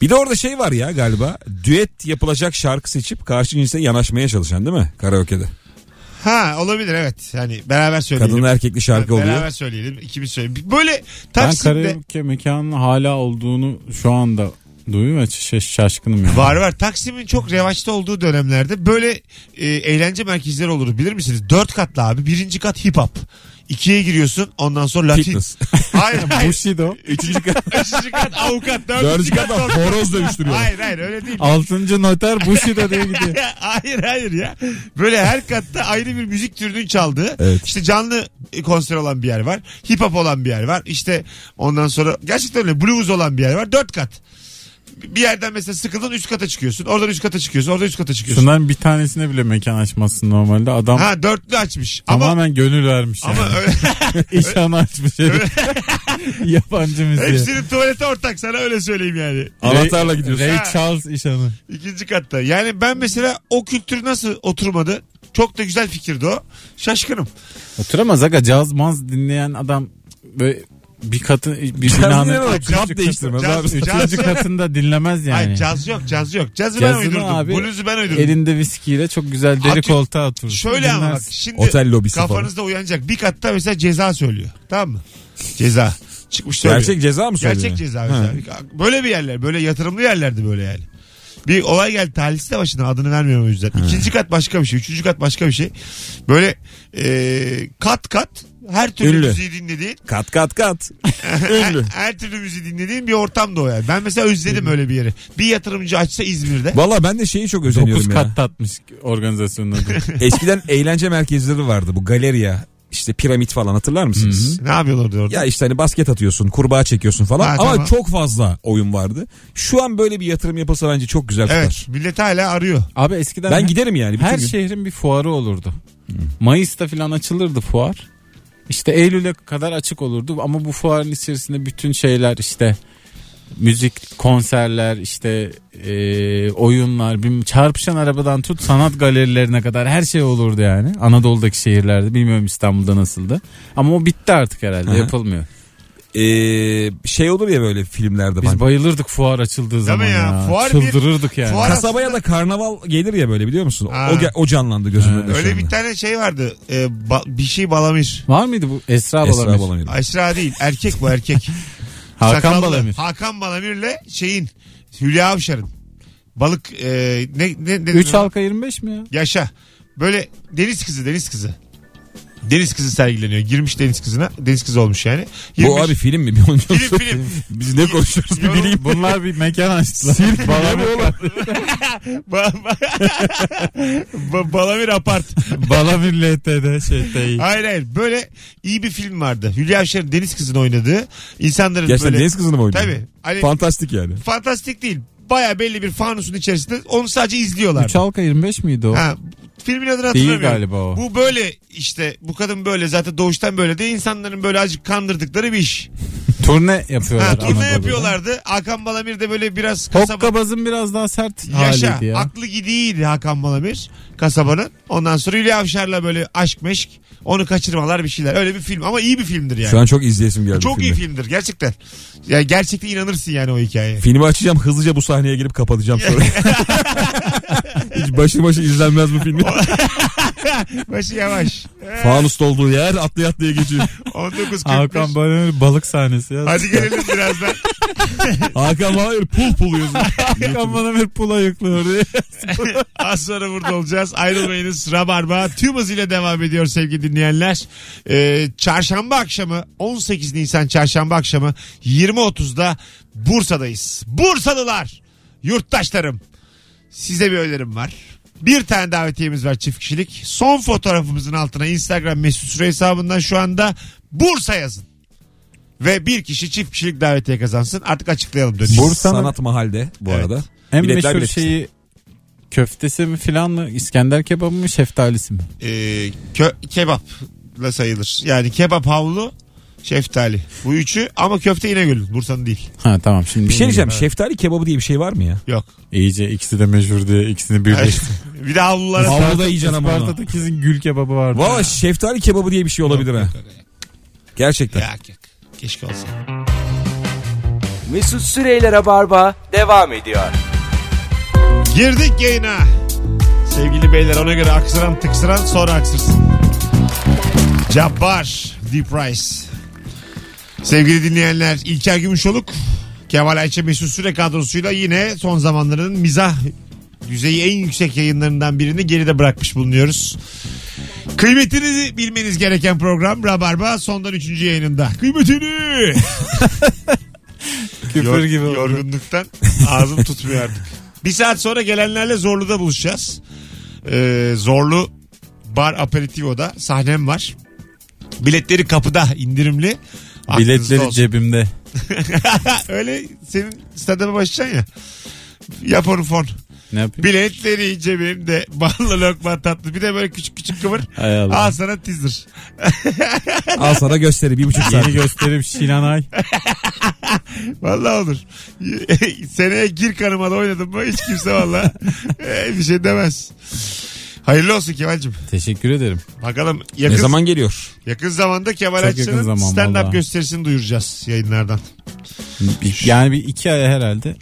Speaker 4: Bir de orada şey var ya galiba. Düet yapılacak şarkı seçip karşı cinse yanaşmaya çalışan değil mi? Karaoke'de.
Speaker 2: Ha olabilir evet. Yani beraber söyleyelim.
Speaker 4: Kadınla erkekli şarkı
Speaker 2: beraber
Speaker 4: oluyor.
Speaker 2: söyleyelim. ikimiz söyleyelim. Böyle
Speaker 3: Ben
Speaker 2: Taksim'de
Speaker 3: karaoke mekanının hala olduğunu şu anda duyuyorum ve şaş- şaşkınım yani.
Speaker 2: var var. Taksim'in çok revaçta olduğu dönemlerde böyle e, eğlence merkezleri olur bilir misiniz? Dört katlı abi. Birinci kat hip hop. İkiye giriyorsun ondan sonra Latin.
Speaker 4: Fitness.
Speaker 2: Hayır hayır.
Speaker 3: Bushido.
Speaker 4: Üçüncü kat.
Speaker 2: Üçüncü kat avukat. Dördüncü
Speaker 4: Dördüncü
Speaker 2: kat.
Speaker 4: katta horoz dövüştürüyor.
Speaker 2: Hayır hayır öyle değil.
Speaker 3: Altıncı noter Bushido diye gidiyor.
Speaker 2: hayır hayır ya. Böyle her katta ayrı bir müzik türünün çaldığı.
Speaker 4: Evet.
Speaker 2: İşte canlı e, konser olan bir yer var. Hip hop olan bir yer var. İşte ondan sonra gerçekten öyle blues olan bir yer var. Dört kat. Bir yerden mesela sıkıldın üst kata çıkıyorsun. Oradan üst kata çıkıyorsun. Oradan üst kata çıkıyorsun.
Speaker 3: Şunların bir tanesine bile mekan açmazsın normalde. Adam
Speaker 2: Ha dörtlü açmış. Ama
Speaker 3: tamamen gönül vermiş yani.
Speaker 2: ama öyle,
Speaker 3: İş ana açmış herif. Yabancı müziği.
Speaker 2: hepsinin tuvalete ortak sana öyle söyleyeyim yani.
Speaker 4: Anahtarla gidiyorsun.
Speaker 3: Ray
Speaker 2: Ha.
Speaker 3: Charles iş anı.
Speaker 2: İkinci katta. Yani ben mesela o kültür nasıl oturmadı? Çok da güzel fikirdi o. Şaşkınım.
Speaker 3: Oturamaz aga caz maz dinleyen adam böyle bir katın bir
Speaker 4: Caz
Speaker 3: binanın
Speaker 4: dinleyen adam
Speaker 3: üçüncü
Speaker 4: kat değiştirmez
Speaker 2: abi.
Speaker 3: Üçüncü katında dinlemez yani.
Speaker 2: Ay caz yok caz yok. Cazı ben
Speaker 3: Cazını
Speaker 2: uydurdum.
Speaker 3: abi
Speaker 2: Blues'u ben uydurdum.
Speaker 3: Elinde viskiyle çok güzel deri
Speaker 2: Abi,
Speaker 3: koltuğa oturur.
Speaker 2: Şöyle ama bak
Speaker 3: Dinlersin.
Speaker 2: şimdi
Speaker 4: Otel lobisi
Speaker 2: kafanızda uyanacak. Bir katta mesela ceza söylüyor. Tamam mı? Ceza. Çıkmış
Speaker 4: falan.
Speaker 2: söylüyor.
Speaker 4: Gerçek ceza mı söylüyor?
Speaker 2: Gerçek ceza mesela. Böyle bir yerler. Böyle yatırımlı yerlerdi böyle yani. Bir olay geldi talihsiz de başına adını vermiyorum o yüzden. İkinci kat başka bir şey. Üçüncü kat başka bir şey. Böyle e, kat kat her türlü
Speaker 4: Ünlü.
Speaker 2: müziği dinlediğin
Speaker 4: Kat kat kat.
Speaker 2: her,
Speaker 4: Ünlü.
Speaker 2: her türlü müziği dinlediğin bir ortam da o yani. Ben mesela özledim öyle bir yeri. Bir yatırımcı açsa İzmir'de.
Speaker 4: Valla ben de şeyi çok
Speaker 3: Dokuz
Speaker 4: özeniyorum ya.
Speaker 3: kat tatmış organizasyonun adı.
Speaker 4: Eskiden eğlence merkezleri vardı bu galeriya. işte piramit falan hatırlar mısınız?
Speaker 2: Ne yapıyorlardı orada?
Speaker 4: Ya işte hani basket atıyorsun, kurbağa çekiyorsun falan
Speaker 2: Ha,
Speaker 4: ama
Speaker 2: tamam.
Speaker 4: çok fazla oyun vardı. Şu an böyle bir yatırım yapılsa bence çok güzel tutar.
Speaker 2: Evet millet hala arıyor.
Speaker 3: Abi eskiden
Speaker 4: Ben giderim yani bütün E,
Speaker 3: her şey-
Speaker 4: gün.
Speaker 3: şehrin bir fuarı olurdu. Mayıs'ta falan açılırdı fuar. İşte Eylül'e kadar açık olurdu ama bu fuarın içerisinde bütün şeyler işte müzik, konserler, işte e, oyunlar, bir çarpışan arabadan tut sanat galerilerine kadar her şey olurdu yani. Anadolu'daki şehirlerde bilmiyorum İstanbul'da nasıldı. Ama o bitti artık herhalde
Speaker 4: Hı hı.
Speaker 3: yapılmıyor.
Speaker 4: Ee, şey olur ya böyle filmlerde.
Speaker 3: Biz
Speaker 4: Biz
Speaker 3: bayılırdık fuar açıldığı zaman
Speaker 2: ya?
Speaker 3: ya.
Speaker 2: Fuar bir-
Speaker 3: Çıldırırdık yani.
Speaker 2: Fuar-
Speaker 4: Kasabaya da karnaval gelir ya böyle biliyor musun? O,
Speaker 2: Ha.
Speaker 4: ge- o canlandı gözümün önünde. şu
Speaker 2: Öyle bir
Speaker 4: anda.
Speaker 2: tane şey vardı. Ee, ba- bir şey balamir.
Speaker 3: Var mıydı bu? Esra,
Speaker 4: Esra
Speaker 3: Balamir.
Speaker 4: Balamir.
Speaker 2: Aşra değil. Erkek bu erkek.
Speaker 3: Hakan
Speaker 2: Sakallı.
Speaker 3: Balamir.
Speaker 2: Hakan Balamir'le şeyin Hülya Avşar'ın. Balık e, ne ne ne
Speaker 3: 3
Speaker 2: ne-
Speaker 3: halka 25 mi ya?
Speaker 2: Yaşa. Böyle deniz kızı deniz kızı. Deniz kızı sergileniyor. Girmiş deniz kızına. Deniz kızı olmuş yani.
Speaker 4: Bu
Speaker 2: Girmiş.
Speaker 4: abi film mi? Bir onu
Speaker 2: Film,
Speaker 4: diyorsun.
Speaker 2: film.
Speaker 4: Biz ne konuşuyoruz bir bileyim.
Speaker 3: Bunlar bir mekan açtılar. Sirk Balamir,
Speaker 2: Ba- ba- Ba- Balamir apart.
Speaker 3: Balamir LTD şey değil.
Speaker 2: Hayır hayır. Böyle iyi bir film vardı. Hülya Avşar'ın deniz kızını oynadığı. insanların
Speaker 4: Gerçekten
Speaker 2: böyle.
Speaker 4: deniz kızını mı oynuyor?
Speaker 2: Tabii. Hani
Speaker 4: Fantastik yani.
Speaker 2: fantastik değil. Baya belli bir fanusun içerisinde onu sadece izliyorlar.
Speaker 3: 3 halka 25 miydi o?
Speaker 2: Ha, filmin adını
Speaker 3: Değil
Speaker 2: hatırlamıyorum.
Speaker 3: galiba o.
Speaker 2: Bu böyle işte bu kadın böyle zaten doğuştan böyle de insanların böyle azıcık kandırdıkları bir iş.
Speaker 3: Turne yapıyorlar.
Speaker 2: Ha, turne
Speaker 3: Anadolu'da.
Speaker 2: yapıyorlardı. Hakan Balamir de böyle biraz kasaba
Speaker 3: Hokkabaz'ın biraz daha sert
Speaker 2: yaşa.
Speaker 3: haliydi ya.
Speaker 2: Aklı gidiydi Hakan Balamir kasabanın. Ondan sonra Hülya Avşar'la böyle aşk meşk onu kaçırmalar bir şeyler. Öyle bir film ama iyi bir filmdir yani.
Speaker 4: Şu an çok izleyesim geldi
Speaker 2: Çok
Speaker 4: filmi.
Speaker 2: iyi filmdir gerçekten. Ya gerçekten inanırsın yani o hikayeye.
Speaker 4: Filmi açacağım hızlıca bu sahneye girip kapatacağım sonra. Hiç başı başı izlenmez bu filmi.
Speaker 2: Başı yavaş.
Speaker 4: Fanus olduğu yer atlaya atlaya geçiyor.
Speaker 2: 19
Speaker 3: Hakan Balamir balık sahnesi ya.
Speaker 2: Hadi gelelim birazdan.
Speaker 4: Hakan bana öyle pul pul yazıyor.
Speaker 3: Hakan Balamir pula yıklıyor diye.
Speaker 2: Az sonra burada olacağız. Ayrılmayınız. Rabarba tüm hızıyla devam ediyor sevgili dinleyenler. Ee, çarşamba akşamı 18 Nisan çarşamba akşamı 20.30'da Bursa'dayız. Bursalılar, yurttaşlarım size bir önerim var. Bir tane davetiyemiz var çift kişilik. Son fotoğrafımızın altına Instagram mesut süre hesabından şu anda Bursa yazın. Ve bir kişi çift kişilik davetiye kazansın. Artık açıklayalım dönüşü.
Speaker 4: Bursa
Speaker 3: mı?
Speaker 4: Sanat Mahal'de bu
Speaker 2: Evet.
Speaker 4: arada.
Speaker 3: En
Speaker 4: Biletler
Speaker 3: meşhur
Speaker 4: biletçisi.
Speaker 3: şeyi köftesi mi filan mı? İskender kebabı mı? Şeftalisi mi?
Speaker 2: e, kö- kebapla sayılır. Yani kebap havlu şeftali. Bu üçü ama köfte İnegöl. Bursa'nın değil.
Speaker 3: Ha tamam şimdi.
Speaker 4: Bir şey diyeceğim. Şeftali kebabı diye bir şey var mı ya?
Speaker 2: Yok.
Speaker 3: İyice ikisi de meşhur diye ikisini birleştirdim.
Speaker 2: bir de havlulara
Speaker 4: Avluda yiyeceksin ama onu.
Speaker 3: Isparta'da kesin gül kebabı vardı.
Speaker 4: Valla şeftali kebabı diye bir şey olabilir ha. Gerçekten.
Speaker 2: Yok, yok. Keşke olsa.
Speaker 1: Mesut Süreyler'e barba devam ediyor.
Speaker 2: Girdik yayına. Sevgili beyler ona göre aksıran tıksıran sonra aksırsın. Cabbar Deep Price. Sevgili dinleyenler İlker Gümüşoluk, Kemal Ayça Mesut Süre kadrosuyla yine son zamanların mizah düzeyi en yüksek yayınlarından birini geride bırakmış bulunuyoruz. Kıymetinizi bilmeniz gereken program Rabarba sondan 3. yayınında. Kıymetini!
Speaker 3: Küfür
Speaker 2: Yor-
Speaker 3: gibi oldu.
Speaker 2: Yorgunluktan ağzım tutmuyor artık. Bir saat sonra gelenlerle Zorlu'da buluşacağız. Ee, Zorlu Bar Aperitivo'da sahnem var. Biletleri kapıda indirimli. Aklınızda
Speaker 3: Biletleri
Speaker 2: olsun.
Speaker 3: cebimde.
Speaker 2: Öyle senin stadyuma başlayacaksın ya. Yap onu fon.
Speaker 3: Ne yapayım?
Speaker 2: Biletleri cebimde. Ballı lokma tatlı. Bir de böyle küçük küçük kıvır.
Speaker 3: Hay Allah.
Speaker 2: Al sana teaser.
Speaker 4: Al sana gösteri bir buçuk saat.
Speaker 3: Yeni gösterim Şilanay.
Speaker 2: Vallahi olur. Seneye gir kanıma da oynadım mı hiç kimse valla bir şey demez. Hayırlı olsun Kemal'cim.
Speaker 3: Teşekkür ederim.
Speaker 2: Bakalım
Speaker 4: ne
Speaker 2: yakın,
Speaker 4: zaman geliyor?
Speaker 2: yakın zamanda Kemal
Speaker 3: Çok yakın
Speaker 2: Açı'nın
Speaker 3: zaman
Speaker 2: stand-up
Speaker 3: vallahi.
Speaker 2: gösterisini duyuracağız yayınlardan.
Speaker 3: Bir- Yani bir iki aya herhalde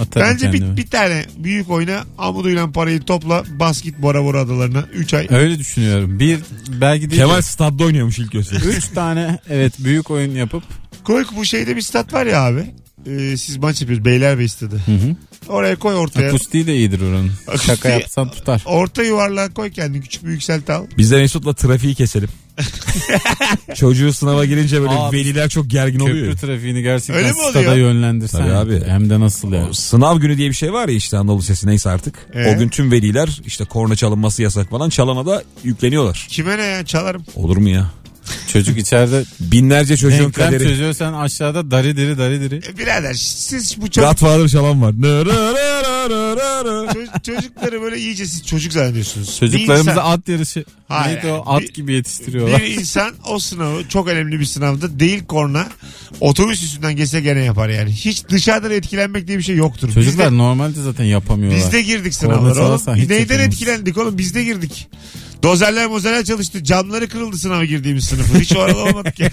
Speaker 3: atarım
Speaker 2: Bence bir,
Speaker 3: kendimi.
Speaker 2: bir tane büyük oyna amuduyla parayı topla basket Bora Bora adalarına 3 ay.
Speaker 3: Öyle düşünüyorum. Bir belki değil.
Speaker 4: Kemal
Speaker 3: Kemal.
Speaker 4: stadda oynuyormuş ilk gösteri.
Speaker 3: Üç tane evet büyük oyun yapıp
Speaker 2: Koy bu şeyde bir stat var ya abi. Ee, siz maç yapıyoruz Beylerbeyi stadı.
Speaker 3: hı.
Speaker 2: Oraya koy ortaya.
Speaker 3: akustiği de iyidir oranın.
Speaker 2: Akustiği-
Speaker 3: Şaka yapsan tutar.
Speaker 2: Orta yuvarlığa koy kendini küçük bir yükselti al.
Speaker 4: Biz de Mesut'la trafiği keselim. Çocuğu sınava girince böyle
Speaker 3: Aa,
Speaker 4: veliler çok gergin oluyor.
Speaker 3: Köprü trafiğini gerçekten
Speaker 2: Öyle mi oluyor?
Speaker 3: stada yönlendirsen.
Speaker 4: Tabii abi.
Speaker 3: Hem de nasıl ya.
Speaker 4: Sınav günü diye bir şey var ya işte Anadolu Sesi neyse artık.
Speaker 2: Ee?
Speaker 4: O gün tüm veliler işte korna çalınması yasak falan çalana da yükleniyorlar.
Speaker 2: Kime ne ya çalarım.
Speaker 4: Olur mu ya?
Speaker 3: Çocuk içeride
Speaker 4: Binlerce çocuğun
Speaker 3: denklem
Speaker 4: kaderi.
Speaker 3: çözüyor sen aşağıda dari diri dari diri.
Speaker 2: E, birader siz bu çocuk
Speaker 4: Godfather çalan var. Nı rı rı rı rı rı rı.
Speaker 2: Ço- çocukları böyle iyice siz çocuk zannediyorsunuz.
Speaker 3: Çocuklarımıza
Speaker 2: bir insan,
Speaker 3: at yarışı.
Speaker 2: Hayır,
Speaker 3: Neydi o?
Speaker 2: yani
Speaker 3: At
Speaker 2: bir-
Speaker 3: gibi yetiştiriyorlar.
Speaker 2: bir insan o sınavı çok önemli bir sınavda değil korna otobüs üstünden geçse gene yapar yani. Hiç dışarıdan etkilenmek diye bir şey yoktur.
Speaker 3: Çocuklar
Speaker 2: biz de,
Speaker 3: normalde zaten yapamıyorlar.
Speaker 2: biz de girdik
Speaker 3: Korna
Speaker 2: sınavlara oğlum.
Speaker 3: çalarsan hiç
Speaker 2: Neyden
Speaker 3: çekilmez.
Speaker 2: etkilendik oğlum biz de girdik. Dozerler mozerler çalıştı. Camları kırıldı sınava girdiğimiz sınıfın. Hiç oralı olmadık yani.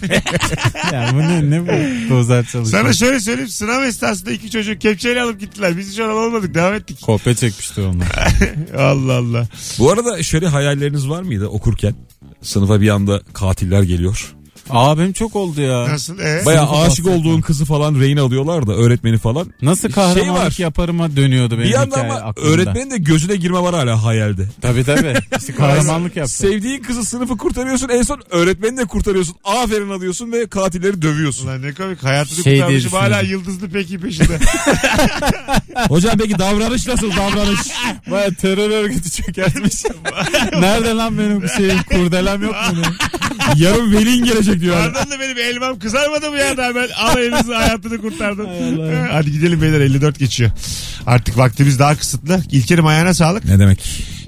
Speaker 3: Ya bu ne, ne bu dozer çalışıyor.
Speaker 2: Sana şöyle söyleyeyim. Sınav esnasında iki çocuk kepçeyle alıp gittiler. Biz hiç oralı olmadık. Devam ettik.
Speaker 3: Kopya çekmiştir onlar.
Speaker 2: Allah Allah.
Speaker 4: Bu arada şöyle hayalleriniz var mıydı okurken? Sınıfa bir anda katiller geliyor.
Speaker 3: Aa benim çok oldu ya.
Speaker 2: Nasıl? Ee?
Speaker 4: Baya
Speaker 3: Sınıfı
Speaker 4: aşık
Speaker 3: bahsettim.
Speaker 4: olduğun kızı falan rehin alıyorlar da öğretmeni falan.
Speaker 3: Nasıl
Speaker 4: Şey
Speaker 3: kahramanlık
Speaker 4: var.
Speaker 3: yaparıma dönüyordu benim
Speaker 4: bir yanda
Speaker 3: hikaye
Speaker 4: ama
Speaker 3: aklımda.
Speaker 4: öğretmenin de gözüne girme var hala hayalde.
Speaker 3: Tabii tabii. İşte kahramanlık yaptı.
Speaker 4: Sevdiğin kızı sınıfı kurtarıyorsun en son öğretmeni de kurtarıyorsun. Aferin alıyorsun ve katilleri dövüyorsun.
Speaker 2: Ulan ne komik. Hayatını
Speaker 3: Şey diye
Speaker 2: kurtarmışım hala
Speaker 3: düşünüyorum.
Speaker 2: yıldızlı peki peşinde.
Speaker 4: Hocam peki davranış nasıl davranış?
Speaker 3: Baya terör örgütü çökertmiş. Nerede lan benim şeyim kurdelem yok mu? benim?
Speaker 4: Yarın velin gelecek diyor.
Speaker 2: Ardından da benim elmam kızarmadı mı ya da ben al elinizi hayatını kurtardın. Hadi gidelim beyler 54 geçiyor. Artık vaktimiz daha kısıtlı. İlker'im ayağına sağlık.
Speaker 4: Ne demek?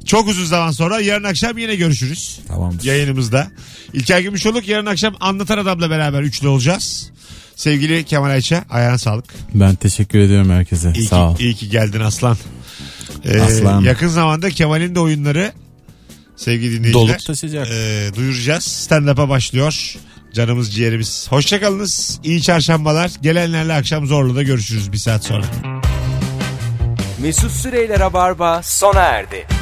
Speaker 2: Çok uzun zaman sonra yarın akşam yine görüşürüz
Speaker 4: Tamamdır.
Speaker 2: yayınımızda. İlker Gümüşoluk yarın akşam Anlatan Adam'la beraber üçlü olacağız. Sevgili Kemal Ayça ayağına sağlık.
Speaker 3: Ben teşekkür ediyorum herkese.
Speaker 2: İyi,
Speaker 3: Sağ ol.
Speaker 2: ki, iyi ki geldin Aslan. Ee,
Speaker 4: Aslan.
Speaker 2: Yakın zamanda Kemal'in de oyunları sevgili dinleyiciler
Speaker 3: Dolup taşacak.
Speaker 2: e, duyuracağız. Stand-up'a başlıyor. Canımız ciğerimiz. Hoşçakalınız. İyi çarşambalar. Gelenlerle akşam Zorlu'da görüşürüz bir saat sonra.
Speaker 1: Mesut Süreyler'e barba sona erdi.